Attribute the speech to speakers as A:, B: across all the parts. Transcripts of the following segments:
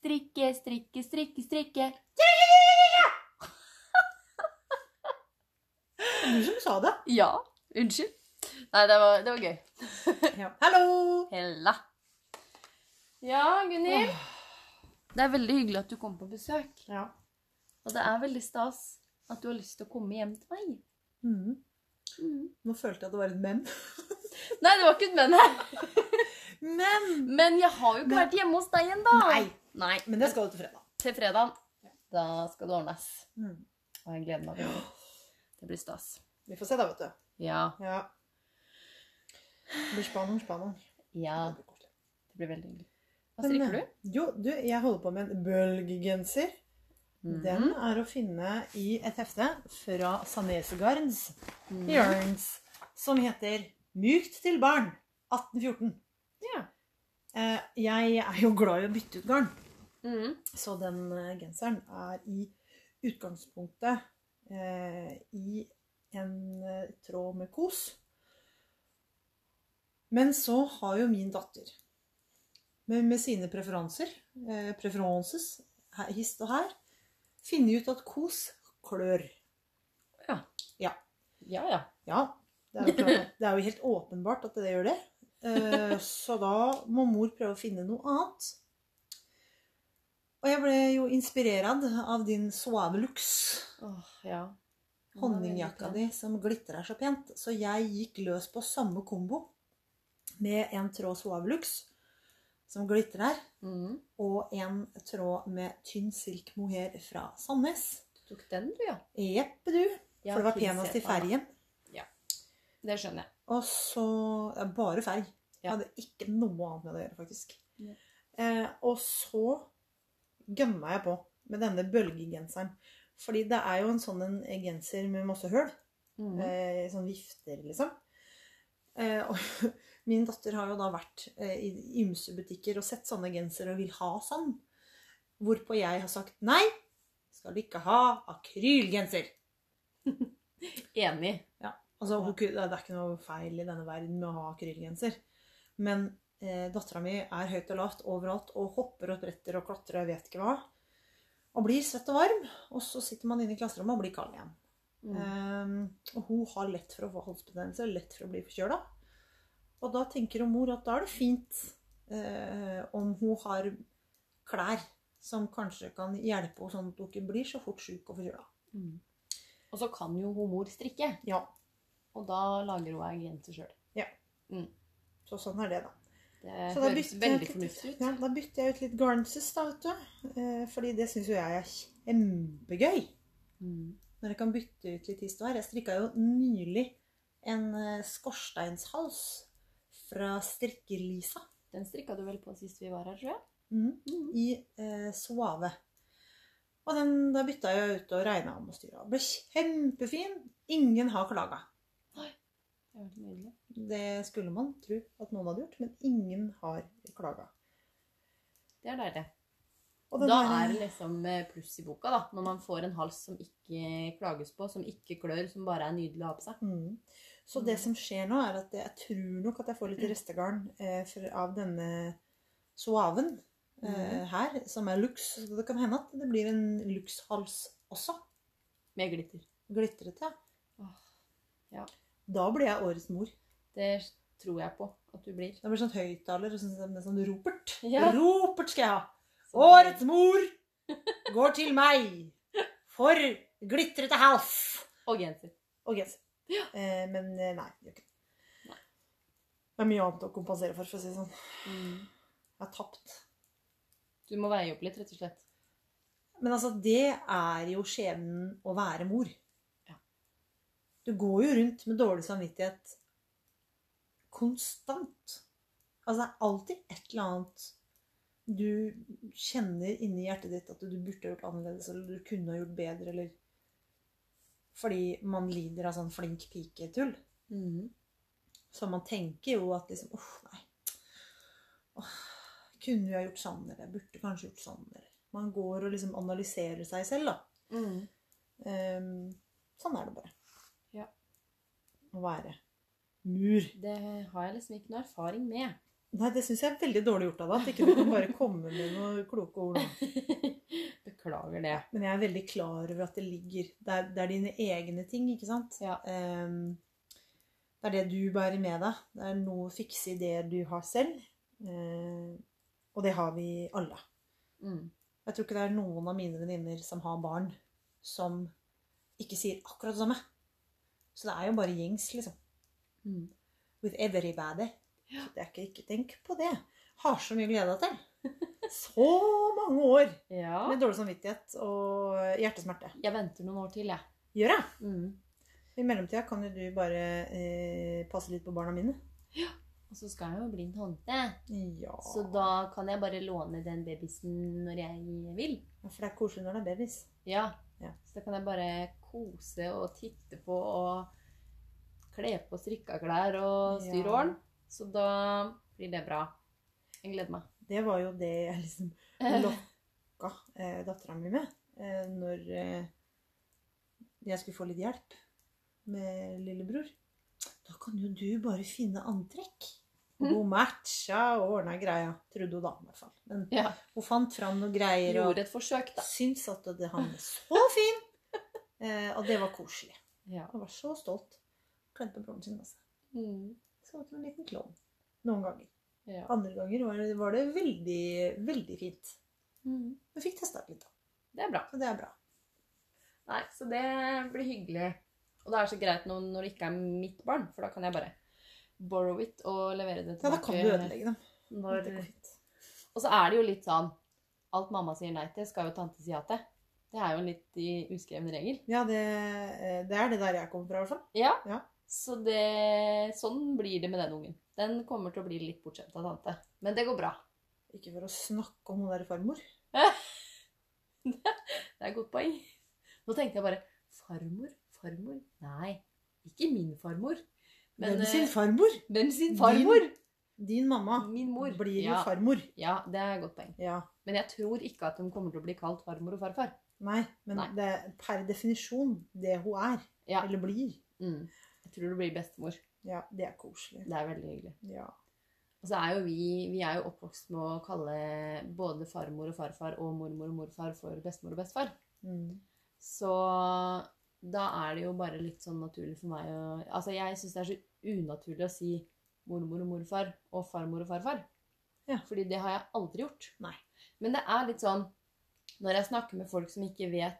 A: Strikke, strikke, strikke, strikke.
B: Det er du som sa det.
A: Ja. Unnskyld. Nei, det var, det var gøy.
B: Ja. Hallo!
A: Hella. Ja, Gunhild.
B: Åh,
A: Det er veldig hyggelig at du kom på besøk.
B: Ja.
A: Og det er veldig stas at du har lyst til å komme hjem til meg.
B: Mhm.
A: Mm.
B: Nå følte jeg at det var et men.
A: Nei, det var ikke et men her.
B: Men!
A: Men jeg har jo ikke
B: Men-
A: vært hjemme hos deg ennå.
B: Nei.
A: Nei.
B: Men det skal du til fredag.
A: Til fredagen. Da skal det ordnes.
B: Mhm.
A: Og jeg gleder meg veldig. Det blir stas.
B: Vi får se, da, vet du.
A: Ja.
B: Ja. Det blir spannende, spannende.
A: Ja.
B: Det blir koselig.
A: Det blir veldig hyggelig. Hva
B: Men,
A: strikker du?
B: eh, Jo, du, jeg holder på med en bølgegenser. Den
A: Mhm.
B: er å finne i et hefte fra Sanese Garns
A: Mhm.
B: Yarns, som heter 'Mykt til barn', 1814.
A: Ja.
B: Eh, Jeg er jo glad i å bytte ut garn,
A: Mhm.
B: så den eh, genseren er i utgangspunktet eh, i en eh, tråd med kos. Men så har jo min datter, med, med sine preferanser, eh, preferances, her- hist og her, funnet ut at kos klør.
A: Ja, ja.
B: Ja, det er jo, klart. Det er jo helt åpenbart at det gjør det. Eh, Så da må mor prøve å finne noe annet. Og jeg ble jo inspirert av din Suavelux,
A: Åh, ja. Den var
B: honningjakka
A: veldig
B: di, som glitrer så pent. Så jeg gikk løs på samme kombo med en tråd Suavelux som glitrer,
A: pen.
B: Mm.
A: Mhm.
B: og en tråd med tynn silk mohair fra Sandnes.
A: Du tok den, du, ja.
B: Jeppe, du.
A: Ja,
B: For det var
A: fin
B: penest i
A: sepa.
B: fergen.
A: Det skjønner jeg.
B: Og så ja, Bare ferg. Jeg
A: Ja.
B: hadde ikke noe annet med det å gjøre, faktisk.
A: Nei.
B: Eh, og så gønna jeg på med denne bølgegenseren. Fordi det er jo en sånn en genser med masse høl.
A: Mhm.
B: Eh, sånn vifter, liksom. Eh, og min datter har jo da vært eh, i ymse butikker og sett sånne gensere og vil ha sånn. Hvorpå jeg har sagt nei, skal du ikke ha akrylgenser.
A: Enig.
B: Altså, hun, ku- det er ikke noe feil i denne verden med å ha akrylgenser. Men eh, dattera mi er høyt og lavt overalt og hopper og bretter og klatrer og jeg vet ikke hva. Og blir svett og varm. Og så sitter man inne i klasserommet og blir kald igjen.
A: Mhm.
B: Eh, og hun har lett for å få halsbetennelse, lett for å bli forkjøla. Og da tenker hun mor at da er det fint eh, om hun har klær som kanskje kan hjelpe henne sånn at hun ikke blir så fort sjuk og forkjøla.
A: Mhm. Og så kan jo hun mor strikke,
B: Ja,
A: og da lager hun ei genser sjøl.
B: så sånn er det, da.
A: Det
B: Så da
A: Eh, høres
B: bytter jeg
A: veldig
B: ut litt-
A: fornuftig ut.
B: Ja, da bytter jeg ut litt garnses, da, vet du. Eh, Fordi det syns jo jeg er kjempegøy.
A: Mhm.
B: Når jeg kan bytte ut litt hist og her. Jeg strikka jo nylig en eh, skorsteinshals fra Strikke-Lisa
A: Den strikka du vel på sist vi var her, tror jeg?
B: Mhm.
A: Mhm.
B: i eh, Suave. Og den da bytta jeg ut og regna om og styra. Ble kjempefin. Ingen har klaga.
A: Det var nydelig.
B: Det skulle man tro at noen hadde gjort, men ingen har klaga.
A: Det er deilig.
B: Og den
A: Da
B: her-
A: er det liksom eh, pluss i boka, da. Når man får en hals som ikke klages på, som ikke klør, som bare er nydelig å ha på seg.
B: Mm. Så
A: Mm.
B: det som skjer nå, er at jeg tror nok at jeg får litt restegarn eh, fra- av denne suaven eh,
A: Mhm.
B: her, som er lux. Så det kan hende at det blir en luxhals også.
A: Med glitter.
B: Glitrete.
A: Åh,
B: Da blir jeg årets mor.
A: Det tror jeg på at du blir.
B: Da blir det sånn høyttaler og sånn, sånn, sånn ropert.
A: Ja. Sånn
B: Ropert skal jeg ha!
A: Så-
B: Årets mor går til meg for glitrete hals!
A: Og genser.
B: Og genser. Eh, men eh, nei, det gjør ikke det.
A: Nei.
B: Det er mye annet å kompensere for, for å si det sånn.
A: Mm.
B: Jeg har tapt.
A: Du må veie opp litt, rett og slett.
B: Men altså, det er jo skjebnen å være mor.
A: Ja.
B: Du går jo rundt med dårlig samvittighet konstant. Altså, det er alltid et eller annet du kjenner inni hjertet ditt at du burde gjort annerledes, eller du kunne ha gjort bedre, eller Fordi man lider av sånn flink pike-tull.
A: Mm.
B: Så man tenker jo at liksom Uff, nei. Åh, kunne jeg gjort sånn, eller jeg burde kanskje gjort sånn, eller Man går og liksom analyserer seg selv, da.
A: Mm.
B: Ehm, sånn er det bare.
A: Ja.
B: Å være mur.
A: Det har jeg liksom ikke noe erfaring med.
B: Nei, det syns jeg er veldig dårlig gjort av deg. At ikke du kan bare komme med noen kloke ord nå.
A: Beklager det.
B: Men jeg er veldig klar over at det ligger Det er, det er dine egne ting, ikke sant?
A: Ja.
B: Ehm, det er det du bærer med deg. Det er noe å fikse i det du har selv. Ehm, og det har vi alle.
A: Mm.
B: Jeg tror ikke det er noen av mine venninner som har barn, som ikke sier akkurat det samme. Så det er jo bare gjengs, liksom.
A: Mm.
B: With everybody. Så det er ikke, ikke tenk på det. Har så mye å glede deg til. Så mange år
A: Ja.
B: med dårlig samvittighet og hjertesmerte.
A: Jeg venter noen år til, jeg.
B: Gjør jeg?
A: Mm.
B: I mellomtida kan jo du bare eh, passe litt på barna mine.
A: Og så skal jeg jo bli en tante.
B: Ja.
A: Så da kan jeg bare låne den babysen når jeg vil.
B: Ja, For det er koselig når det er babys.
A: Ja.
B: Ja.
A: Så da kan jeg bare kose og titte på og kle på strikka klær og styre
B: Ja.
A: åren. Så da blir det bra. Jeg gleder meg.
B: Det var jo det jeg liksom lokka eh, dattera mi med eh, når eh, jeg skulle få litt hjelp med lillebror. Da kan jo du bare finne antrekk.
A: Mhm.
B: Og hun matcha og ordna greia. Trodde hun da, i hvert fall. Men
A: Ja.
B: hun fant fram noen greier og
A: Gjorde et forsøk, da.
B: syntes at det, han var så fin! Eh, og det var koselig.
A: Ja.
B: Han var så stolt. Klemte broren sin masse.
A: Mm.
B: Så til en liten klovn. Noen ganger.
A: ja.
B: Andre ganger var det, var det veldig, veldig fint.
A: Mm.
B: Men fikk testa litt, da.
A: Det er bra.
B: Så det er bra.
A: Nei, så det blir hyggelig. Og det er så greit nå når det ikke er mitt barn, for da kan jeg bare borrow it og levere det
B: Ja, da
A: tilbake.
B: kan du ødelegge dem.
A: når-
B: Det går fint.
A: Og så er det jo litt sånn Alt mamma sier nei til, skal jo tante si ja til. Det er jo en litt i- uskreven regel.
B: Ja, det, eh, det er det der jeg kommer fra, i hvert fall.
A: Ja.
B: Ja.
A: Så det, sånn blir det med den ungen. Den kommer til å bli litt bortskjemt av tante. Men det går bra.
B: Ikke for å snakke om hun der farmor.
A: Det er et godt poeng. Nå tenkte jeg bare Farmor? Farmor? Nei, ikke min farmor. Men,
B: Hvem sin
A: eh,
B: farmor?
A: Hvem sin farmor?
B: Din mamma
A: Min mor.
B: blir jo
A: ja.
B: farmor.
A: Ja, det er et godt poeng.
B: Ja.
A: Men jeg tror ikke at hun kommer til å bli kalt farmor og farfar.
B: Nei, men
A: Nei.
B: det er per definisjon det hun er.
A: Ja.
B: Eller blir.
A: Mm. Jeg tror det blir bestemor.
B: Ja, det er koselig.
A: Det er veldig hyggelig.
B: Ja.
A: Og så er jo vi, vi er jo oppvokst med å kalle både farmor og farfar og mormor og morfar for bestemor og bestefar.
B: Mm.
A: Så da er det jo bare litt sånn naturlig for meg å Altså, jeg syns det er så unaturlig å si mormor og morfar og farmor og farfar.
B: Ja.
A: Fordi det har jeg aldri gjort.
B: Nei.
A: Men det er litt sånn Når jeg snakker med folk som ikke vet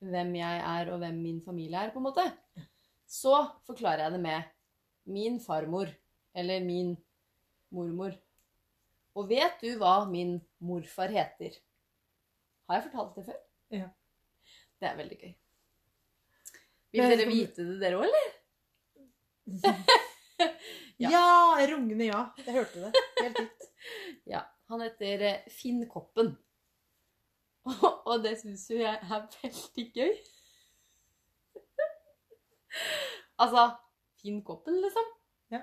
A: hvem jeg er, og hvem min familie er, på en måte, så forklarer jeg det med min farmor eller min mormor. Og vet du hva min morfar heter? Har jeg fortalt det før?
B: Ja.
A: Det er veldig gøy.
B: Men
A: Vil
B: jeg
A: dere
B: vet
A: vite det, dere òg, eller? Ja.
B: ja. Rungende ja. Jeg hørte det. Helt likt.
A: Ja. Han heter eh, Finn Koppen. Og og det syns jo jeg er veldig gøy. Altså Finn Koppen, liksom.
B: Ja.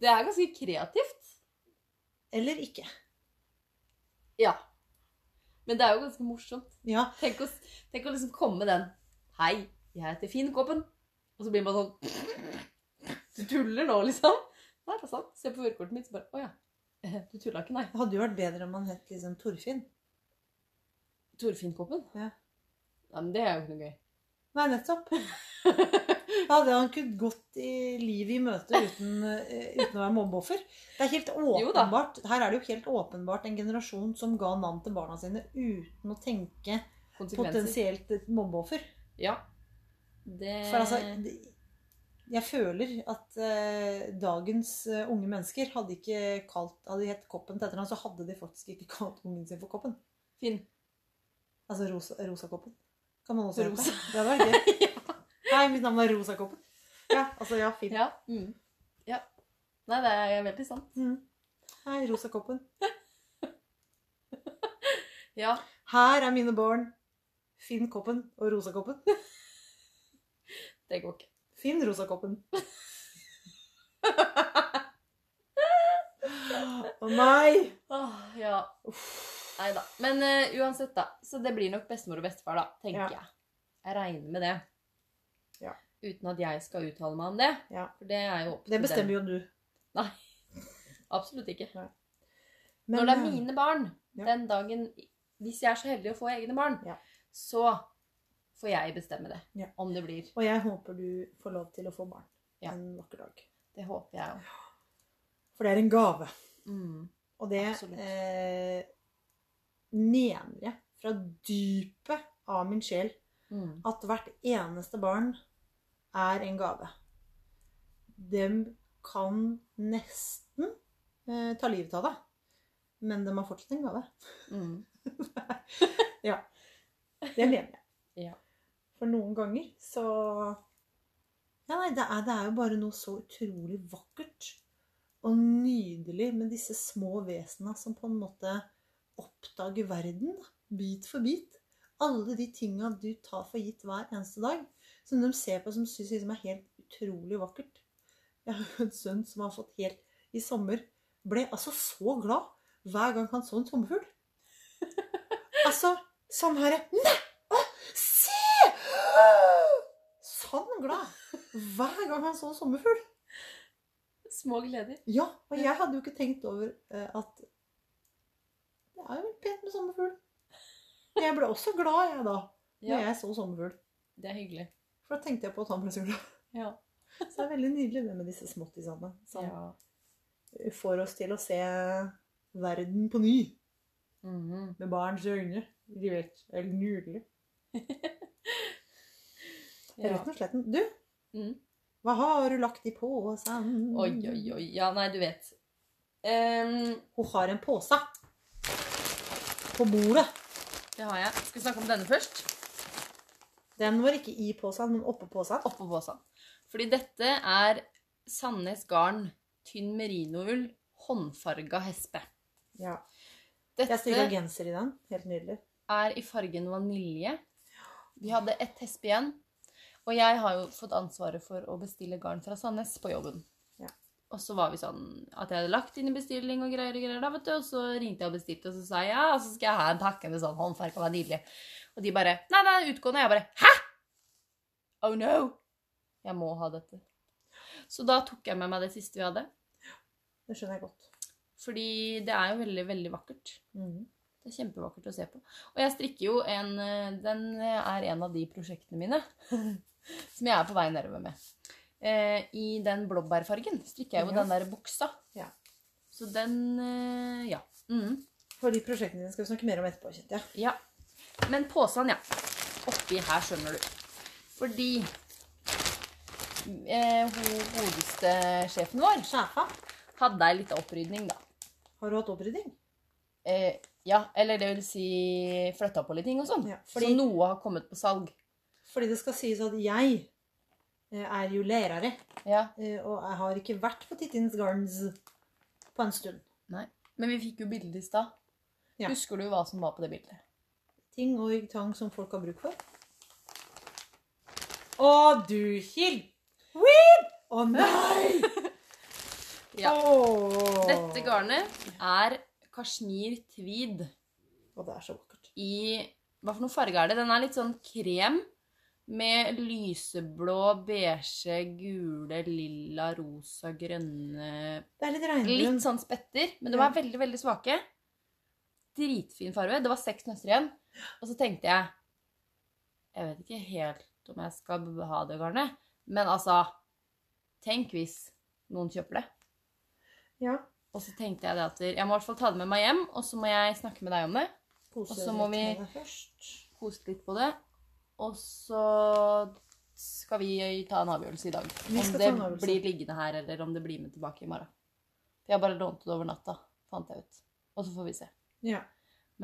A: Det er ganske kreativt.
B: Eller ikke.
A: Ja. Men det er jo ganske morsomt.
B: Ja.
A: Tenk å, tenk å liksom komme med den. Hei, jeg heter Finn Koppen. Og så blir man sånn Du tuller nå, liksom? Nei, det er sant. Se på førerkortet mitt, så bare Å ja. Eh, Du tulla ikke, nei.
B: Det hadde jo vært bedre om han het liksom Torfinn.
A: Torfinn-koppen?
B: Ja.
A: Nei, men det er jo ikke noe gøy.
B: Nei, nettopp. Da hadde han kunnet gått i livet i møte uten, eh, uten å være mobbeoffer. Det er helt
A: Jo da.
B: åpenbart, Her er det jo helt åpenbart en generasjon som ga navn til barna sine uten å tenke
A: Konsekvenser.
B: potensielt et mobbeoffer.
A: Ja. Det
B: For altså
A: Eh.
B: det- Jeg føler at eh, dagens eh, unge mennesker hadde ikke kalt Hadde de hett Koppen til etternavn, så hadde de faktisk ikke kalt ungen sin for Koppen.
A: Finn.
B: Altså rosa, rosakoppen. Kan man også
A: Rosa.
B: hete. Det hadde vært gøy. Nei, mitt navn var Rosakoppen. Ja, altså, ja, fint.
A: Ja. Mm. ja. Nei, det er veldig sant.
B: Mm. Hei, Rosakoppen.
A: Ja.
B: Her er mine barn. Finn koppen og rosakoppen.
A: Det går ikke.
B: Finn rosakoppen. Å nei!
A: Åh, ja.
B: Uff.
A: Nei da. Men eh, uansett, da. Så det blir nok bestemor og bestefar, da. Tenker
B: Ja.
A: jeg. Jeg regner med det.
B: Ja.
A: Uten at jeg skal uttale meg om det.
B: Ja.
A: For det er jo opp
B: Det bestemmer jo du.
A: Nei. Absolutt ikke.
B: Men,
A: Når det er
B: eh,
A: mine barn,
B: ja.
A: den dagen Hvis jeg er så heldig å få egne barn,
B: Ja.
A: så får jeg bestemme det.
B: Ja.
A: Om det blir.
B: eh, Og jeg håper du får lov til å få barn
A: Ja.
B: en vakker dag.
A: Det håper jeg òg.
B: For det er en gave.
A: Mm.
B: Og det
A: Absolutt.
B: eh, mener jeg fra dypet av min sjel
A: Mm.
B: at hvert eneste barn er en gave. Dem kan nesten eh, ta livet av deg, men de har fortsatt en gave.
A: Mm.
B: Det mener jeg.
A: Ja.
B: For noen ganger så ja, nei, det, er, det er jo bare noe så utrolig vakkert og nydelig med disse små vesena som på en måte oppdager verden da, bit for bit. Alle de tinga du tar for gitt hver eneste dag, som de ser på som syns liksom er helt utrolig vakkert. Jeg har jo en sønn som har fått helt i sommer Ble altså så glad hver gang han så en sommerfugl. Altså, sånn her Nei! Å, se! Sånn glad hver gang han så en sommerfugl.
A: Små gleder.
B: Ja, og jeg hadde jo ikke tenkt over eh, at Det er jo veldig pent med sommerfugl. Men Jeg ble også glad, jeg, da, når
A: Ja,
B: jeg så sommerfugl.
A: det er hyggelig.
B: For da tenkte jeg på at han ble så glad.
A: Ja.
B: Så det er veldig nydelig det med disse småttisene som
A: ja.
B: får oss til å se verden på ny
A: Mhm.
B: med barns øyne. De vet, det er nydelig.
A: ja.
B: Rett og slett. Du,
A: Mm.
B: hva har du lagt i posen?
A: Oi, oi, oi. Ja, nei, du vet. Ehm,
B: Hun har en pose på bordet.
A: det har jeg. Skal vi snakke om denne først?
B: Den var ikke i posen, men oppå posen.
A: Oppå posen. Fordi dette er Sandnes Garn tynn merinoull håndfarga hespe.
B: Ja. Jeg strikka
A: Dette
B: genser i den. Helt nydelig.
A: er i fargen vanilje. Vi hadde ett hespe igjen. Og jeg har jo fått ansvaret for å bestille garn fra Sandnes på jobben.
B: Ja.
A: Og så var vi sånn at jeg hadde lagt inn i bestilling og greier og greier. da, vet du. Og så ringte jeg og bestilte, og så sa jeg ja, så skal jeg ha en pakke med sånn håndfarga vanilje. Og de bare nei, nei, utgående. Og jeg bare hæ? Oh no! Jeg må ha dette. Så da tok jeg med meg det siste vi hadde.
B: Det skjønner jeg godt.
A: Fordi det er jo veldig, veldig vakkert.
B: Mhm.
A: Det er kjempevakkert å se på. Og jeg strikker jo en eh, Den er en av de prosjektene mine som jeg er på vei nedover med. Eh, I den blåbærfargen strikker jeg jo
B: Ja.
A: den der buksa.
B: Ja.
A: Så den eh, Ja. Mhm.
B: For de prosjektene dine skal vi snakke mer om etterpå. kjente jeg.
A: ja. Men posen, ja. Oppi her, skjønner du. Fordi eh, hun godeste sjefen vår
B: Skjerfa.
A: hadde ei lita opprydning, da.
B: Har du hatt opprydding?
A: Eh, ja, eller det vil si flytta på litt ting og sånn.
B: Ja,
A: Så
B: fordi-
A: noe har kommet på salg.
B: Fordi det skal sies at jeg eh, er jo lærer,
A: Ja.
B: eh, og jeg har ikke vært på Tittins Gardens på en stund.
A: Men vi fikk jo bildet i stad.
B: Ja.
A: Husker du hva som var på det bildet?
B: Ting og tang som folk har bruk for. Å, du, Kjell! Weeb! Å nei!
A: Ja.
B: Åh.
A: Dette garnet er kasjmir tweed
B: Og det er så vakkert.
A: i Hva for noen farge er det? Den er litt sånn krem med lyseblå, beige, gule, lilla, rosa, grønne
B: Det er litt regnbrun.
A: Litt sånn spetter, men de
B: Ja.
A: er veldig, veldig svake. Dritfin farge. Det var seks nøster igjen. Og så tenkte jeg Jeg vet ikke helt om jeg skal ha det garnet, men altså Tenk hvis noen kjøper det.
B: Ja.
A: Og så tenkte jeg det at jeg må i hvert fall ta det med meg hjem, og så må jeg snakke med deg om det.
B: Kose
A: Og så må
B: litt
A: vi-
B: med det først.
A: Kose litt på det. Og så skal vi ta en avgjørelse i dag.
B: Vi
A: Om
B: skal ta
A: det
B: en avgjørelse.
A: blir liggende her, eller om det blir med tilbake i morgen. For jeg bare lånte det over natta, fant jeg ut. Og så får vi se.
B: Ja.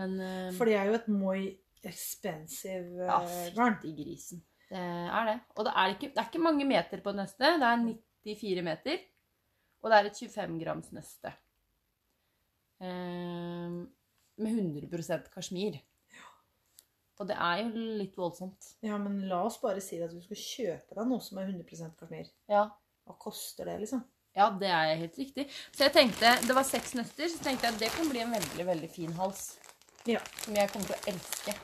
A: Men eh,
B: For det er jo et moi expensive
A: ja,
B: eh, garn.
A: fytti grisen. Det er det. Og det er, ikke, det er ikke mange meter på nøstet. Det er 94 meter. Og det er et 25 grams nøste. Eh, med 100 kasjmir. Og det er jo litt voldsomt.
B: Ja, men la oss bare si at du skal kjøpe deg noe som er 100 kasjmir.
A: Ja,
B: Hva koster det, liksom?
A: ja det er helt riktig. Så jeg tenkte, Det var seks nøster, så tenkte jeg at det kan bli en veldig veldig fin hals.
B: Ja.
A: Som jeg kommer til å elske.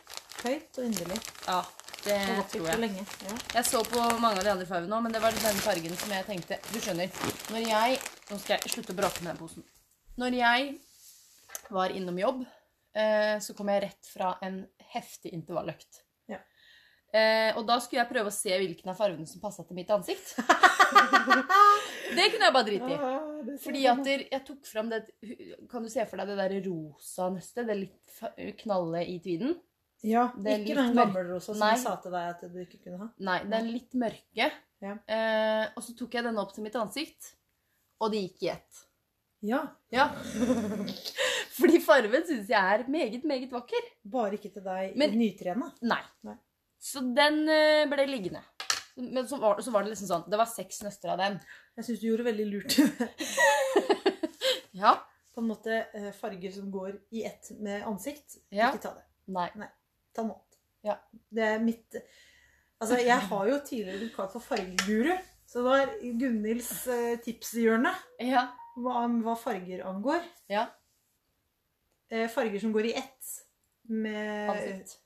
B: Høyt og inderlig.
A: Ja, det
B: Og vakkert
A: tror
B: og
A: jeg.
B: lenge. Ja.
A: Jeg så på mange av de andre fargene òg, men det var denne fargen som jeg tenkte Du skjønner, når jeg Nå skal jeg slutte å bråke med den posen. Når jeg var innom jobb, eh, så kom jeg rett fra en heftig intervalløkt.
B: Ja.
A: Eh, og da skulle jeg prøve å se hvilken av fargene som passa til mitt ansikt. Det kunne jeg bare drite i. Fordi at der, jeg tok fram det Kan du se for deg det der rosa nøstet? Det litt fa- knallet i tviden?
B: Ja,
A: det er
B: ikke
A: litt
B: den
A: mørkt.
B: gammelrosa som
A: Nei.
B: jeg sa til deg at du ikke kunne ha.
A: Nei, den litt mørke.
B: Ja.
A: Eh, og så tok jeg den opp til mitt ansikt, og det gikk i ett.
B: Ja,
A: Ja. Fordi fargen syns jeg er meget, meget vakker.
B: bare ikke til deg
A: Men-
B: nytrena.
A: Nei.
B: Nei.
A: Så den eh, ble liggende. Men så var, så var det liksom sånn Det var seks nøster av den.
B: Jeg syns du gjorde veldig lurt.
A: Ja.
B: På en måte eh, farger som går i ett med ansikt.
A: Ja.
B: Ikke ta det.
A: Nei.
B: Ta noe annet.
A: Ja.
B: Det er mitt Altså, jeg har jo tidligere blitt kalt for fargeguru. Så det var Gunhilds eh, tipshjørne
A: Ja.
B: hva, hva farger angår.
A: Ja.
B: Eh, farger som går i ett med
A: Ansikt.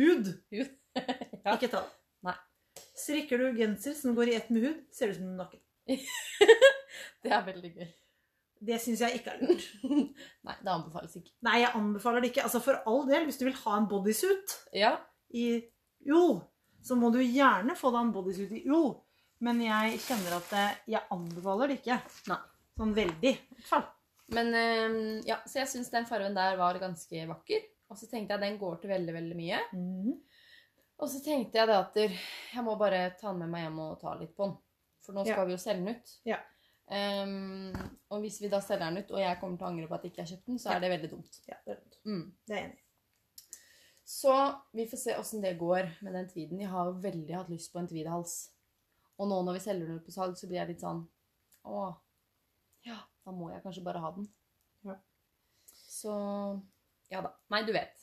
B: hud.
A: Hud. Ja.
B: Ikke ta det.
A: Nei.
B: Strikker du genser som går i ett med hud, ser du ut som en nakken.
A: Det er veldig gøy.
B: Det syns jeg ikke er lurt.
A: Nei, det anbefales ikke.
B: Nei, jeg anbefaler det ikke. Altså, For all del, hvis du vil ha en bodysuit
A: Ja.
B: i ull, så må du gjerne få deg en bodysuit i ull. Men jeg kjenner at eh, jeg anbefaler det ikke.
A: Nei.
B: Sånn veldig. i hvert fall.
A: Men eh, ja, så jeg syns den fargen der var ganske vakker. Og så tenkte jeg den går til veldig, veldig mye. Og så tenkte jeg det at der, jeg må bare ta den med meg hjem og ta litt på den. For nå skal vi jo selge den ut.
B: Ja.
A: Ehm, og hvis vi da selger den ut, og jeg kommer til å angre på at jeg ikke har kjøpt den, så
B: Ja.
A: er det veldig dumt.
B: Ja, det er lurt.
A: Mm.
B: Det er jeg enig i.
A: Så vi får se åssen det går med den tweeden. Jeg har jo veldig hatt lyst på en tweedhals. Og nå når vi selger den ut på salg, så blir jeg litt sånn Å, ja, da må jeg kanskje bare ha den.
B: Ja.
A: Så Ja da. Nei, du vet.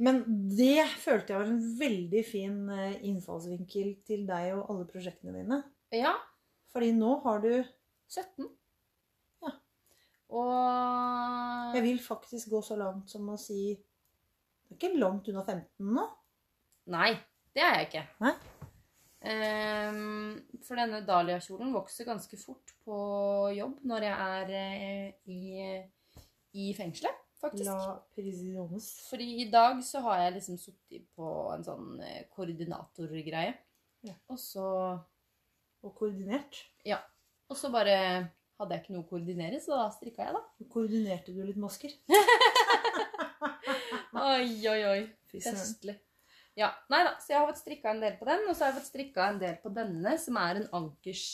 B: Men det følte jeg var en veldig fin eh, innfallsvinkel til deg og alle prosjektene dine.
A: Ja,
B: Fordi nå har du
A: 17.
B: Ja.
A: Og
B: Jeg vil faktisk gå så langt som å si Det er ikke langt unna 15 nå.
A: Nei, det er jeg ikke.
B: Nei?
A: Ehm, for denne dahliakjolen vokser ganske fort på jobb når jeg er eh, i, i fengselet, faktisk.
B: La prisiones.
A: Fordi i dag så har jeg liksom sittet på en sånn eh, koordinatorgreie.
B: Ja.
A: Og så
B: Og koordinert.
A: Og så bare hadde jeg ikke noe å koordinere, så da strikka jeg, da.
B: Koordinerte du litt masker?
A: Oi, oi, oi.
B: Fy søren.
A: Festlig. Ja, nei da, så jeg har fått strikka en del på den, og så har jeg fått strikka en del på denne, som er en ankers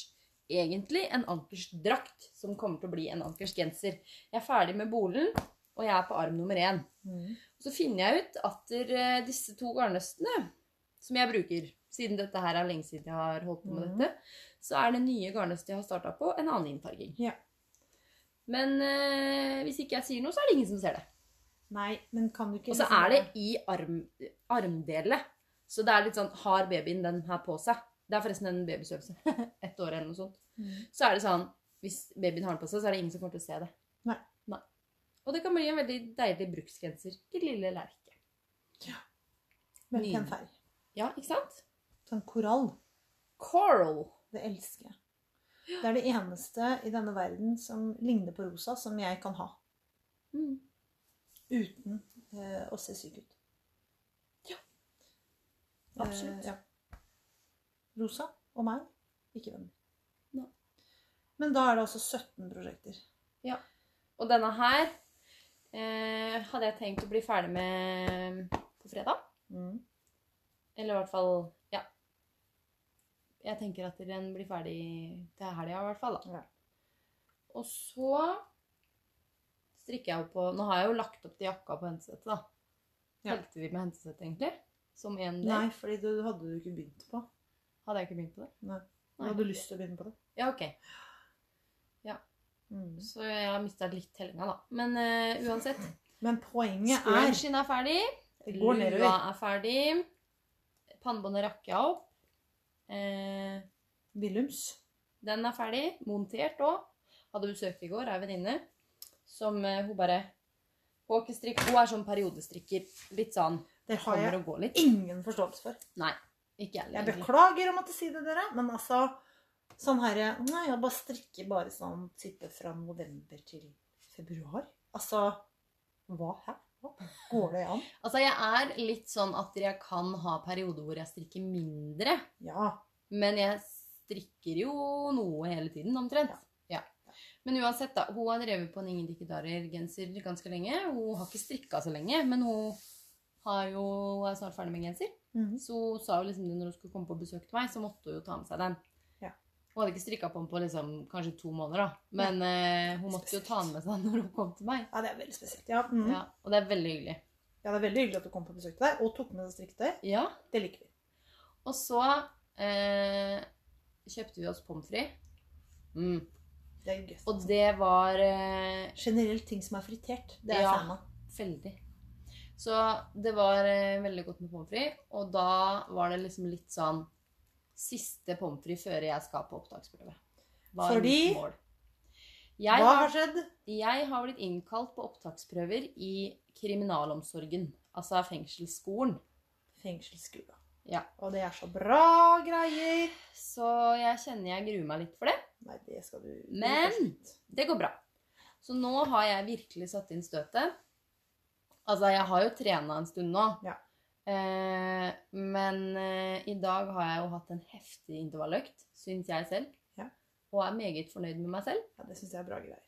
A: Egentlig en ankersdrakt, som kommer til å bli en ankersgenser. Jeg er ferdig med bolen, og jeg er på arm nummer én.
B: Mm.
A: Så finner jeg ut at eh, disse to garnnøstene som jeg bruker Siden dette her er lenge siden jeg har holdt på med
B: Mhm.
A: dette, så er det nye garnnøstet jeg har starta på, en annen innfarging.
B: Ja.
A: Men eh, hvis ikke jeg sier noe, så er det ingen som ser det.
B: Nei, men kan du ikke
A: Og så
B: liksom-
A: er det i arm, armdelet. Så det er litt sånn Har babyen den her på seg? Det er forresten en babystørrelse. Ett år eller noe sånt.
B: Mm.
A: Så er det sånn Hvis babyen har den på seg, så er det ingen som kommer til å se det.
B: Nei.
A: Og det kan bli en veldig deilig bruksgenser til lille Lerke.
B: Veldig pen
A: Nydelig.
B: farge.
A: Ja, ikke sant?
B: Sånn korall.
A: Coral.
B: Det elsker jeg. Det er det eneste i denne verden som ligner på rosa, som jeg kan ha.
A: Mm.
B: Uten eh, å se syk ut.
A: Ja.
B: Eh,
A: Absolutt.
B: ja. Rosa og meg, ikke venner.
A: Nei.
B: Men da er det altså 17 prosjekter.
A: Og denne her eh, hadde jeg tenkt å bli ferdig med på fredag. Mm. Eller i hvert fall Ja. Jeg tenker at den blir ferdig til helga, i hvert fall. da.
B: Ja.
A: Og så strikker jeg jo på Nå har jeg jo lagt opp til jakka på hentesettet, da.
B: Ja.
A: Telte vi med hentesettet, egentlig? Som én del?
B: Nei, fordi du hadde du ikke begynt på.
A: Hadde jeg ikke begynt på det?
B: Nei. Du
A: Nei.
B: hadde lyst til å begynne på det. Mm.
A: Ja, ok. Så jeg har mista litt tellinga, da. Men eh, uansett.
B: Men poenget er
A: Scrunchen er ferdig.
B: Det går
A: Lua
B: nedover.
A: er ferdig. Pannebåndet rakk jeg opp. Eh,
B: Willums.
A: Den er ferdig, montert òg. Hadde besøk i går, ei venninne. Som eh, hun bare Håkestrikk. Hun er sånn periodestrikker. Litt sånn
B: Det har
A: kommer
B: jeg
A: og går litt.
B: ingen forståelse for.
A: Ikke jeg
B: Jeg
A: egentlig.
B: beklager å måtte si det, dere, men altså Sånn herre Nei, jeg bare strikker bare sånn type fra november til Februar? Altså Hva? Hæ? Hva? Går det an?
A: Altså, jeg er litt sånn at jeg kan ha perioder hvor jeg strikker mindre.
B: Ja.
A: Men jeg strikker jo noe hele tiden, omtrent. Ja. Men uansett, da. Hun har drevet på en Ingen Dikkedarer-genser ganske lenge. Hun har ikke strikka så lenge, men hun har jo, hun er snart ferdig med genser.
B: Mhm.
A: Så hun sa jo liksom det når hun skulle komme på besøk til meg, så måtte hun jo ta med seg den.
B: Ja.
A: Hun hadde ikke strikka på den på liksom, kanskje to måneder, da. Men eh, hun måtte jo ta den med seg når hun kom til meg.
B: Ja, det er veldig spesielt. Ja, mhm.
A: Ja, og det er veldig hyggelig.
B: ja, det er veldig hyggelig at du kom på besøk til deg og tok med deg strikketøy.
A: Ja,
B: Det liker vi.
A: Og så eh, kjøpte vi oss pommes frites. Mm.
B: Det er gøy.
A: Og det var eh,
B: generelt ting som er fritert, det er
A: Ja.
B: jeg fan av.
A: veldig. Så det var eh, veldig godt med pommes frites. Og da var det liksom litt sånn Siste pommes frites før jeg skal på opptaksprøve. Var
B: Fordi?
A: mitt mål. Jeg
B: Hva
A: har,
B: har skjedd?
A: jeg har blitt innkalt på opptaksprøver i kriminalomsorgen. Altså fengselsskolen.
B: Fengselsskrua.
A: Ja.
B: Og det er så bra greier.
A: Så jeg kjenner jeg gruer meg litt for det.
B: Nei, det skal du
A: Men- Det går bra. Så nå har jeg virkelig satt inn støtet. Altså, jeg har jo trena en stund nå.
B: Ja.
A: Eh, men eh, i dag har jeg jo hatt en heftig intervalløkt, syns jeg selv.
B: Ja.
A: Og er meget fornøyd med meg selv.
B: Ja, det syns jeg er bra greier.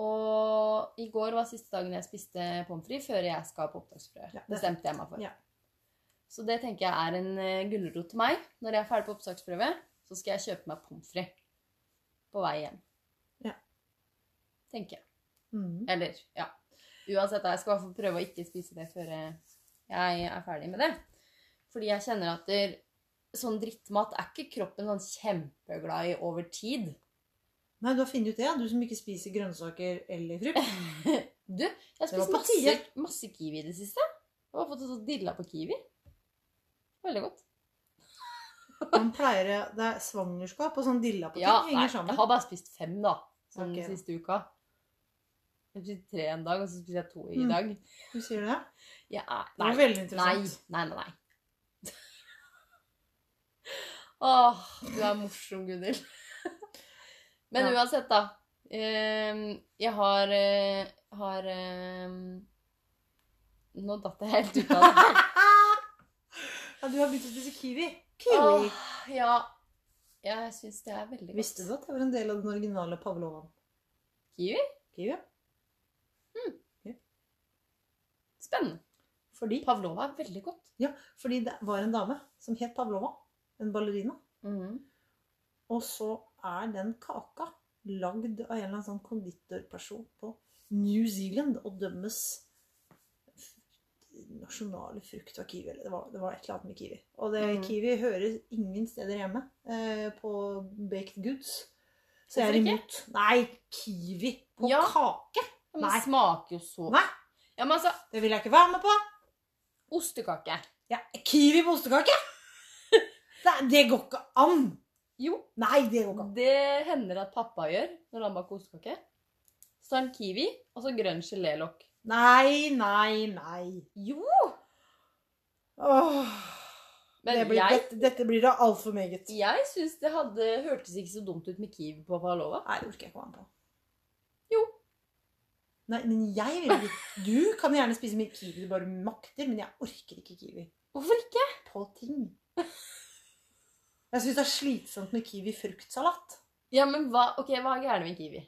A: Og i går var siste dagen jeg spiste pommes frites før jeg skal på opptaksprøve.
B: Ja, det er
A: Bestemte jeg meg for.
B: Ja.
A: Så det tenker jeg er en eh, gulrot til meg. Når jeg er ferdig på opptaksprøve, så skal jeg kjøpe meg pommes frites på vei hjem.
B: Ja.
A: Tenker jeg.
B: Mhm.
A: Eller, ja. Uansett, jeg skal i hvert fall prøve å ikke spise det før eh, jeg er ferdig med det. Fordi jeg kjenner at det, sånn drittmat er ikke kroppen sånn kjempeglad i over tid.
B: Nei, du har funnet ut det, ja. du som ikke spiser grønnsaker eller frukt.
A: Du, jeg har
B: Det var
A: spist
B: på
A: masse,
B: tide.
A: masse kiwi i det siste. Jeg har fått sånn dilla på kiwi. Veldig godt.
B: Man pleier, det er svangerskap og sånn dilla på ting
A: Ja, nei,
B: henger
A: jeg
B: sammen.
A: har bare spist fem, da. Sånn
B: Ok, da.
A: siste uka. Jeg spiste tre en dag, og så spiser jeg to i
B: Mm.
A: dag.
B: Du sier det?
A: Jeg er,
B: Det
A: nei,
B: var veldig
A: Nei,
B: interessant.
A: nei, nei. nei. Åh, du er morsom, Gunhild. Men
B: Ja.
A: uansett, da. ehm, jeg har eh, har ehm, Nå datt jeg helt ut av det.
B: Ja, du har begynt å spise kiwi.
A: Åh, ja. Jeg syns det er veldig godt.
B: Visste du at det var en del av den originale pavlovaen?
A: Kiwi?
B: Kiwi, ja.
A: Spennende.
B: Fordi,
A: Pavlova er veldig godt.
B: fordi det var en dame som het Pavlova, en ballerina.
A: Mm.
B: Og så er den kaka lagd av en eller annen sånn konditorperson på New Zealand og dømmes nasjonale frukt av kiwi. eller Det var, det var et eller annet med kiwi. Og det,
A: Mhm.
B: kiwi høres ingen steder hjemme eh, på baked goods. Så jeg
A: Hvorfor
B: er
A: ikke?
B: imot. Nei, kiwi på
A: Ja.
B: kake!
A: Ja, Men
B: Nei.
A: det smaker jo så
B: Nei,
A: Ja, men altså,
B: det vil jeg ikke være med på!
A: ostekake.
B: Ja, kiwi på ostekake! Det, det går ikke an!
A: Jo,
B: Nei, det går ikke an.
A: Det hender at pappa gjør når han baker ostekake. Så tar han kiwi og så grønn gelélokk.
B: Nei, nei, nei.
A: Jo!
B: Åh.
A: Men
B: det blir,
A: jeg,
B: dette, dette blir da altfor meget.
A: jeg syns det hadde, hørtes ikke så dumt ut med kiwi på Palova.
B: Nei, det orker jeg ikke å være med på.
A: Jo.
B: Nei, men jeg vil ikke. Du kan gjerne spise mye kiwi du bare makter, men jeg orker ikke kiwi
A: Hvorfor ikke?
B: på ting. Jeg syns det er slitsomt med kiwi-fruktsalat.
A: Ja, men hva, ok, hva er gærent med kiwi?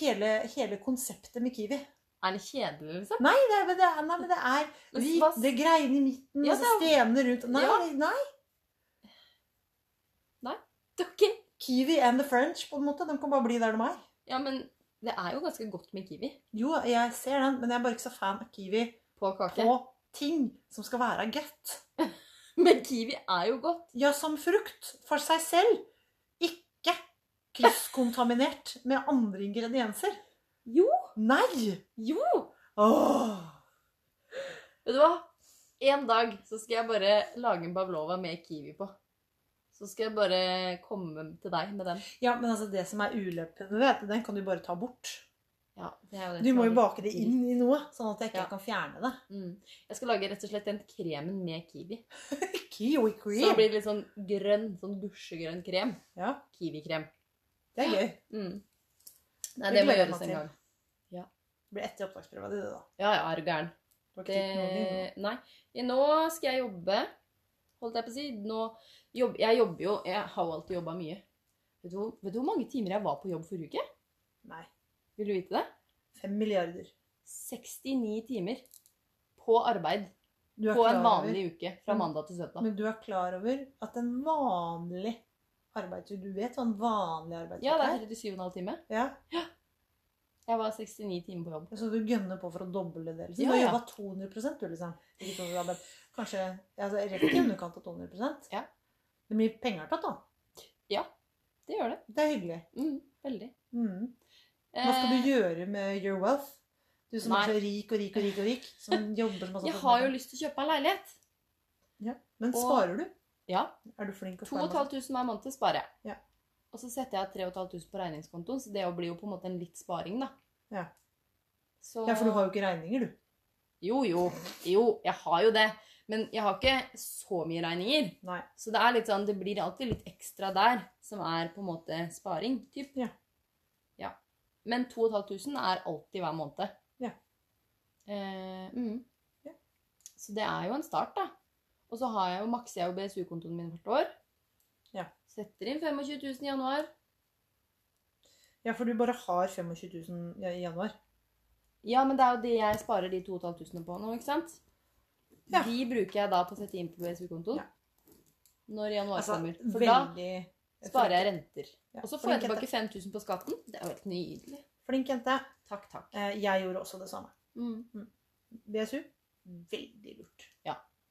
B: Hele, hele konseptet med kiwi.
A: Er den kjedelig, liksom?
B: Nei, det er, det er, nei, men det er
A: Men
B: vi,
A: hva-
B: det greiene i midten,
A: Ja,
B: og så stenene rundt. Nei,
A: Ja.
B: nei.
A: Ok.
B: Kiwi and the French, på en måte. De kan bare bli der de er.
A: Ja, men det er jo ganske godt med kiwi
B: Jo, jeg ser den, men jeg er bare ikke så fan av kiwi
A: på kake.
B: på ting som skal være godt.
A: Men kiwi er jo godt.
B: Ja, som frukt for seg selv. Ikke krysskontaminert med andre ingredienser.
A: Jo.
B: Nei!
A: Jo!
B: Åh.
A: Vet du hva? En dag så skal jeg bare lage en Pavlova med kiwi på. Så skal jeg bare komme til deg med den.
B: Ja, men altså det som er ulepen, du vet, den kan du bare ta bort.
A: Ja, det er jo det
B: Du
A: som
B: må
A: er
B: jo
A: litt
B: bake det inn i noe, sånn at jeg ikke
A: Ja.
B: kan fjerne det.
A: Mm. Jeg skal lage rett og slett den kremen med kiwi.
B: Kiwi
A: Så det
B: cream.
A: blir litt sånn grønn, sånn gusjegrønn krem.
B: Ja,
A: Kiwikrem.
B: det er gøy.
A: Mm. Nei,
B: Det
A: det må
B: gleder jeg
A: gjøres
B: meg
A: en
B: til.
A: gang.
B: Det blir etter opptaksprøva di, det, da.
A: Ja, ja, er du gæren.
B: Du har ikke tid til noen ting,
A: Det, nei. Nå skal jeg jobbe. Holdt jeg på å si. Nå, jobb, jeg jobber jo Jeg har jo alltid jobba mye. Vet du, hvor- vet du hvor mange timer jeg var på jobb forrige uke?
B: nå. Nei.
A: Vil du vite det?
B: Fem milliarder.
A: 69 timer på arbeid
B: Du er
A: på en
B: klar over- Mm.
A: vanlig uke fra mandag til søndag.
B: Men du er klar over at en vanlig arbeidsuke Du vet hva en vanlig arbeidsuke
A: Ja, det er 37,5 timer.
B: Ja.
A: Jeg var 69 timer på jobb.
B: Så du gønner på for å doble det? Liksom.
A: Ja,
B: du har
A: ja.
B: jobba 200 du, liksom. Ikke 200, men Kanskje altså, rett i underkant av 200
A: Ja.
B: Det er mye penger tatt, da.
A: Det gjør det.
B: Det er hyggelig.
A: Mm, veldig. Eh,
B: Mm. Hva skal du gjøre med your wealth? Du som
A: Nei.
B: er så rik og rik og rik og rik. Som jobber som masse
A: Jeg har jo lyst til å kjøpe meg en leilighet.
B: ja. Men
A: og-
B: sparer du?
A: Ja.
B: Er du flink å
A: 2500 hver måned sparer jeg.
B: Ja.
A: Og så setter jeg 3500 på regningskontoen, så det jo blir jo på en måte en litt sparing, da.
B: Ja.
A: Så...
B: Ja, for du har jo ikke regninger, du.
A: Jo, jo. Jo, jeg har jo det. Men jeg har ikke så mye regninger.
B: Nei.
A: Så det er litt sånn, det blir alltid litt ekstra der, som er på en måte sparing, typ.
B: Ja.
A: Ja. Men 2500 er alltid hver måned.
B: Ja.
A: Eh, mm.
B: Ja.
A: Så det er jo en start, da. Og så har jeg jo, makser jeg jo BSU-kontoen min hvert år.
B: Ja.
A: Setter inn 25 000 i januar.
B: Ja, for du bare har 25 000 i- i januar.
A: Ja, men det er jo det jeg sparer de 2500 på nå, ikke sant?
B: Ja.
A: De bruker jeg da på å sette inn på BSU-kontoen.
B: Ja.
A: Når januar
B: Altså,
A: kommer. For
B: veldig
A: da sparer jeg renter.
B: Ja,
A: Og så får jeg
B: flink
A: tilbake
B: jente.
A: 5000 på skatten. Det er jo helt nydelig.
B: Flink jente.
A: Takk, takk.
B: Eh, Jeg gjorde også det samme.
A: Mm.
B: BSU veldig lurt.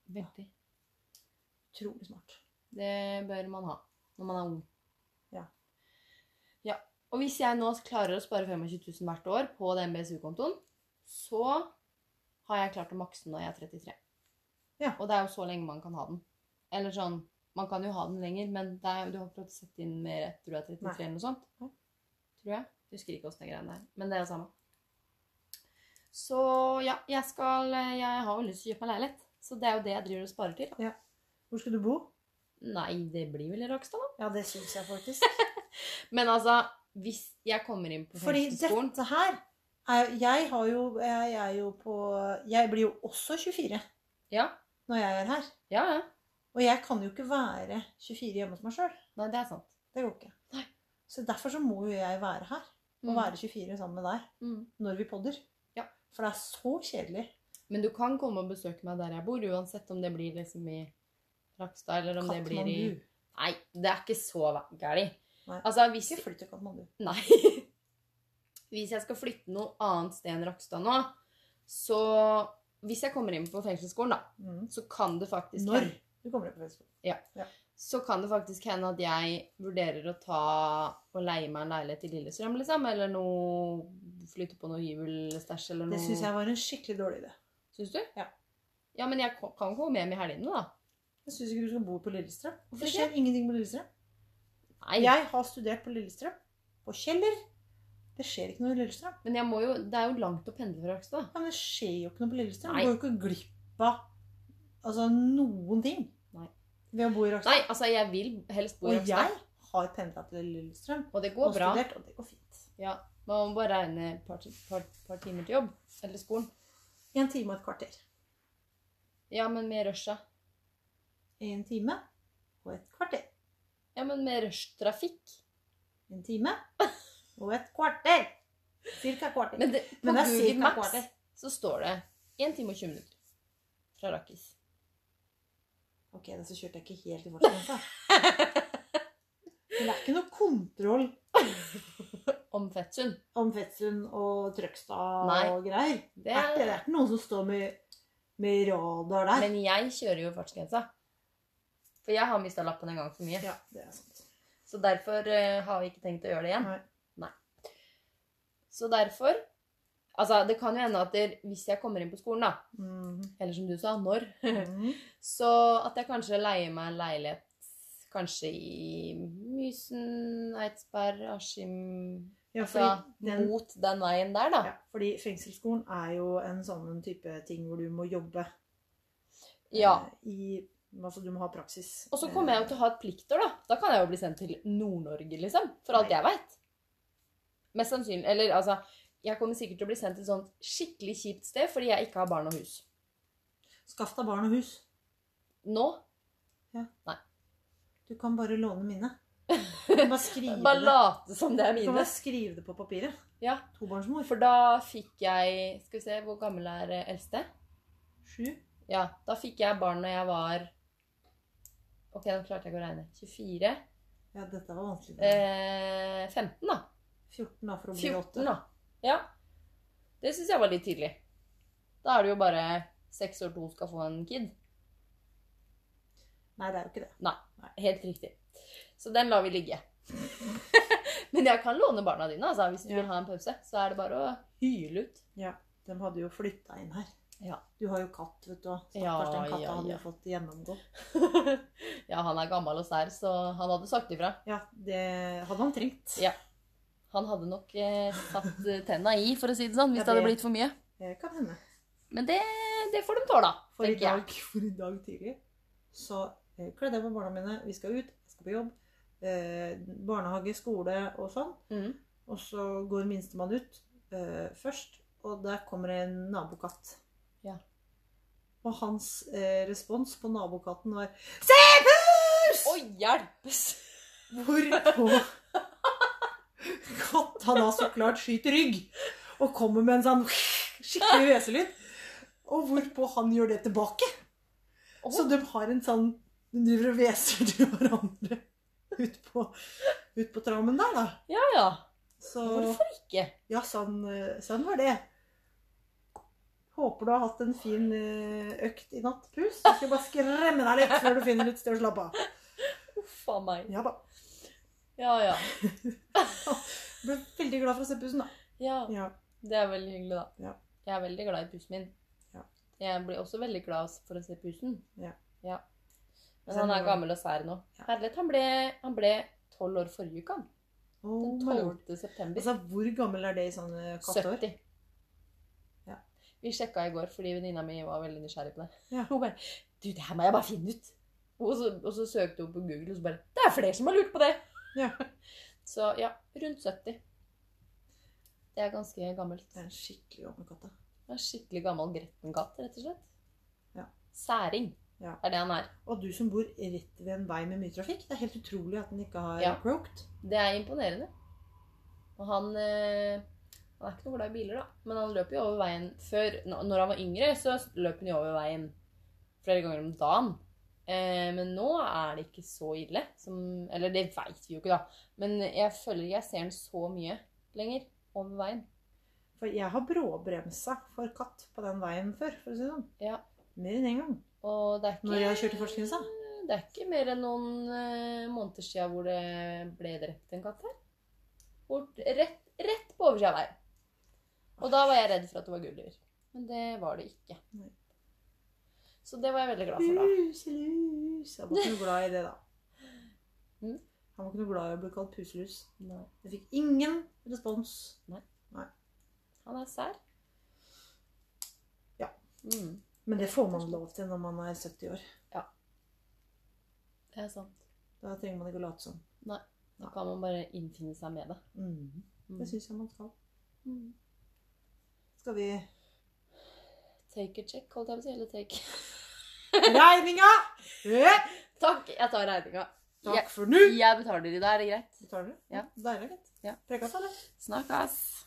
A: Veldig.
B: Utrolig smart.
A: Det bør man ha når man er ung.
B: Ja.
A: Ja. Og hvis jeg nå klarer å spare 25 000 hvert år på den BSU-kontoen, så har jeg klart å makse den når jeg er 33.
B: Ja.
A: Og det er jo så lenge man kan ha den. Eller sånn Man kan jo ha den lenger, men det er, du har ikke prøvd å sette inn mer etter du er 33
B: Nei.
A: eller noe sånt.
B: Nei.
A: Tror jeg. Husker ikke åssen det greiene der. Men det er jo samme. Så ja, jeg skal eh, Jeg har jo lyst til å kjøpe meg leilighet. Så det er jo det jeg driver og sparer til. da.
B: Hvor skal du bo?
A: Nei, det blir vel i Rakstad, da.
B: Ja, det syns jeg faktisk.
A: Men altså, hvis jeg kommer inn på
B: Fordi
A: folkehøyskolen
B: dette her er, Jeg har jo Jeg er jo på Jeg blir jo også 24
A: Ja,
B: når jeg er her.
A: ja, ja.
B: Og jeg kan jo ikke være 24 hjemme hos meg sjøl.
A: Nei, det er sant.
B: Det går ikke.
A: Nei.
B: Så derfor så må jo jeg være her. Og
A: Mm.
B: være 24 sammen med deg
A: Mm.
B: når vi podder.
A: Ja.
B: For det er så kjedelig.
A: Men du kan komme og besøke meg der jeg bor, uansett om det blir liksom i Rakstad, eller om det blir i
B: Katmandu.
A: Nei, det er ikke så gærent.
B: Nei.
A: Altså, hvis
B: Ikke flytt til Katmandu.
A: Nei. Hvis jeg skal flytte noe annet sted enn Rakstad nå, så Hvis jeg kommer inn på fengselsskolen, da,
B: Mm.
A: så kan det faktisk
B: Når
A: hende-
B: du kommer deg på Facebook.
A: så kan det faktisk hende at jeg vurderer å ta og leie meg en leilighet i Lillestrøm, liksom. Eller noe Flytte på noe hybelstæsj eller noe.
B: Det syns jeg var en skikkelig dårlig idé.
A: Syns du?
B: Ja.
A: Ja, men jeg ko- kan komme hjem i helgene, da.
B: Jeg syns ikke du skal bo på Lillestrøm.
A: Hvorfor
B: Det
A: ikke?
B: skjer ingenting på Lillestrøm.
A: Nei.
B: Jeg har studert på Lillestrøm. På Kjeller. Det skjer ikke noe i Lillestrøm.
A: Men jeg må jo Det er jo langt å pendle fra Rakstad.
B: Ja, men det skjer jo ikke noe på Lillestrøm.
A: Nei.
B: Du går jo ikke glipp av altså, noen ting
A: Nei.
B: ved å bo i
A: Nei,
B: Rakstad.
A: altså, jeg vil helst bo i
B: Og jeg
A: Rakstad.
B: har pendla til Lillestrøm
A: Og det
B: og
A: går bra.
B: studert, og det går fint.
A: Ja. Man må bare regne et par, ti- par, par timer til jobb. Eller skolen.
B: En time og et kvarter.
A: Ja, men med rusha.
B: En time og et kvarter.
A: Ja, men med rushtrafikk.
B: En time og et kvarter. Cirka et kvarter.
A: Men det, på
B: Men det er
A: Google
B: cirka
A: Maps
B: kvarter.
A: så står det 1 time og 20 minutter fra Rakkis.
B: Ok, da så kjørte jeg ikke helt i fortsettelsen. da. Men det er ikke noe kontroll
A: Om Fettsund.
B: om Fettsund og Trøgstad
A: Nei.
B: og greier.
A: Det
B: Det er, ikke, det
A: er,
B: er ikke noen som står med, med radar der.
A: men jeg kjører jo fartsgrensa. For jeg har mista lappen en gang for mye.
B: ja, det er sant.
A: Så derfor eh, har vi ikke tenkt å gjøre det igjen.
B: Nei.
A: Så derfor Altså, det kan jo hende at det- hvis jeg kommer inn på skolen, da,
B: Mhm.
A: eller som du sa, når,
B: Mhm.
A: så at jeg kanskje leier meg en leilighet kanskje i Mysen, Eidsberg, Askim
B: Ja,
A: Altså
B: fordi, den,
A: mot den veien der, da.
B: ja, fordi fengselsskolen er jo en sånn type ting hvor du må jobbe. eh,
A: ja.
B: I, altså du må ha praksis. eh,
A: Og så kommer jeg jo til å ha et pliktår, da. Da kan jeg jo bli sendt til Nord-Norge, liksom. For alt
B: Nei.
A: jeg veit. Mest sannsynlig. Eller altså Jeg kommer sikkert til å bli sendt til et sånt skikkelig kjipt sted fordi jeg ikke har barn og hus.
B: Skaff deg barn og hus.
A: Nå?
B: Du kan bare låne mine. Du kan bare skrive,
A: Bare
B: det.
A: late som det er
B: Du kan
A: mine.
B: bare skrive det på papiret.
A: Ja,
B: Tobarnsmor.
A: For da fikk jeg Skal vi se, hvor gammel er eh, eldste?
B: Sju.
A: Ja, da fikk jeg barn når jeg var Ok, nå klarte jeg ikke å regne. 24?
B: Ja, dette var vanskelig.
A: Eh, 15, da.
B: 14 da, for å bli
A: 14,
B: 8.
A: da. Ja. Det syns jeg var litt tidlig. Da er det jo bare seks år to skal få en kid.
B: Nei, det er jo ikke det.
A: Helt riktig. Så den lar vi ligge. Men jeg kan låne barna dine, altså. Hvis du
B: Ja.
A: vil ha en pause, så er det bare å hyle ut.
B: De hadde jo flytta inn her.
A: Ja.
B: Du har jo katt, vet du. Stakkars
A: Ja,
B: den katta
A: ja,
B: hadde
A: ja.
B: jo fått gjennomgå.
A: ja, han er gammel og sær, så han hadde sagt ifra.
B: Ja, det hadde han trengt.
A: Ja. Han hadde nok eh, satt eh, tenna i, for å si det sånn, hvis
B: Ja,
A: det hadde
B: det-
A: blitt for mye.
B: Det eh, kan hende.
A: Men det, det får de tåle,
B: For i
A: tenker jeg.
B: dag, for i dag tidlig så eh, kledde jeg på barna mine. Vi skal ut, jeg skal på jobb. Eh, barnehage, skole og sånn.
A: Mm.
B: Og så går minstemann ut eh, først, og der kommer en nabokatt.
A: Ja.
B: Og hans eh, respons på nabokatten var
A: Å, hjelpes!
B: Hvorpå katta da så klart skyter rygg og kommer med en sånn skikkelig hveselyd. Og hvorpå han gjør det tilbake.
A: Å,
B: Så de har en sånn De driver og hveser til hverandre ut på, ut på trammen der, da.
A: ja, ja.
B: Så
A: Hvorfor ikke?
B: ja, sånn, eh, sånn var det. Håper du har hatt en fin eh, økt i natt, pus. Du skal bare skremme deg litt før du finner et sted å slappe av.
A: Uff a meg.
B: Ja da.
A: Ja, ja,
B: Ble veldig glad for å se pusen, da.
A: ja.
B: Ja.
A: Det er veldig hyggelig, da.
B: Ja.
A: Jeg er veldig glad i pusen min.
B: Ja.
A: Jeg blir også veldig glad for å se pusen.
B: Ja.
A: Men han er gammel og sær nå.
B: Ja.
A: Herlighet, han ble, han ble 12 år forrige uke, han.
B: Oh,
A: Den
B: my lord.
A: 12. september.
B: Altså, hvor gammel er det i sånne katteår?
A: 70.
B: Ja.
A: Vi sjekka i går fordi venninna mi var veldig nysgjerrig på det.
B: Ja.
A: Hun bare 'Du, det her må jeg bare finne ut'. Og så, og så søkte hun på Google, og så bare 'Det er flere som har lurt på det'.
B: Ja.
A: Så ja, rundt 70. Det er ganske gammelt.
B: Det er en skikkelig gammel katt. da.
A: Det er en Skikkelig gammel gretten katt, rett og slett.
B: Ja.
A: Særing
B: Ja.
A: er det han er.
B: Og du som bor rett ved en vei med mye trafikk. Det er helt utrolig at den ikke har
A: Ja.
B: croaked.
A: Det er imponerende. Og han eh, Han er ikke noe glad i biler, da. Men han løper jo over veien før n- Når han var yngre, så løp han jo over veien flere ganger om dagen. Eh, men nå er det ikke så ille. Som, eller det veit vi jo ikke, da. Men jeg føler ikke jeg ser han så mye lenger over veien.
B: For jeg har bråbremsa for katt på den veien før, for å si det sånn.
A: Ja.
B: Mer enn én gang.
A: Og det er ikke
B: Når jeg kjørte fartsgrensa?
A: Det er ikke mer enn noen eh, måneder siden hvor det ble drept en katt her. Bort, rett, rett på oversida av veien. Og da var jeg redd for at det var Gulliver. Men det var det ikke.
B: Nei.
A: Så det var jeg veldig glad for, da.
B: Puselus. Han var ikke noe glad i det, da.
A: Mm.
B: Han var ikke noe glad i å bli kalt puselus.
A: Nei.
B: Jeg fikk ingen respons.
A: Han er sær.
B: Ja.
A: Mm,
B: Men det får man lov til når man er 70 år.
A: det er sant.
B: Da trenger man ikke å late som.
A: Da kan man bare innfinne seg med det.
B: Mm.
A: Mm.
B: Det syns jeg man skal.
A: Mm.
B: Skal vi
A: Take a check, holdt jeg på å si. Eller take
B: Regninga! Eh,
A: Takk, jeg tar regninga.
B: Takk
A: Jeg,
B: for nå.
A: jeg betaler i dag, er det greit?
B: Betaler du?
A: Ja.
B: Deilig.
A: Ja.
B: Prekast, eller?
A: Snakkes.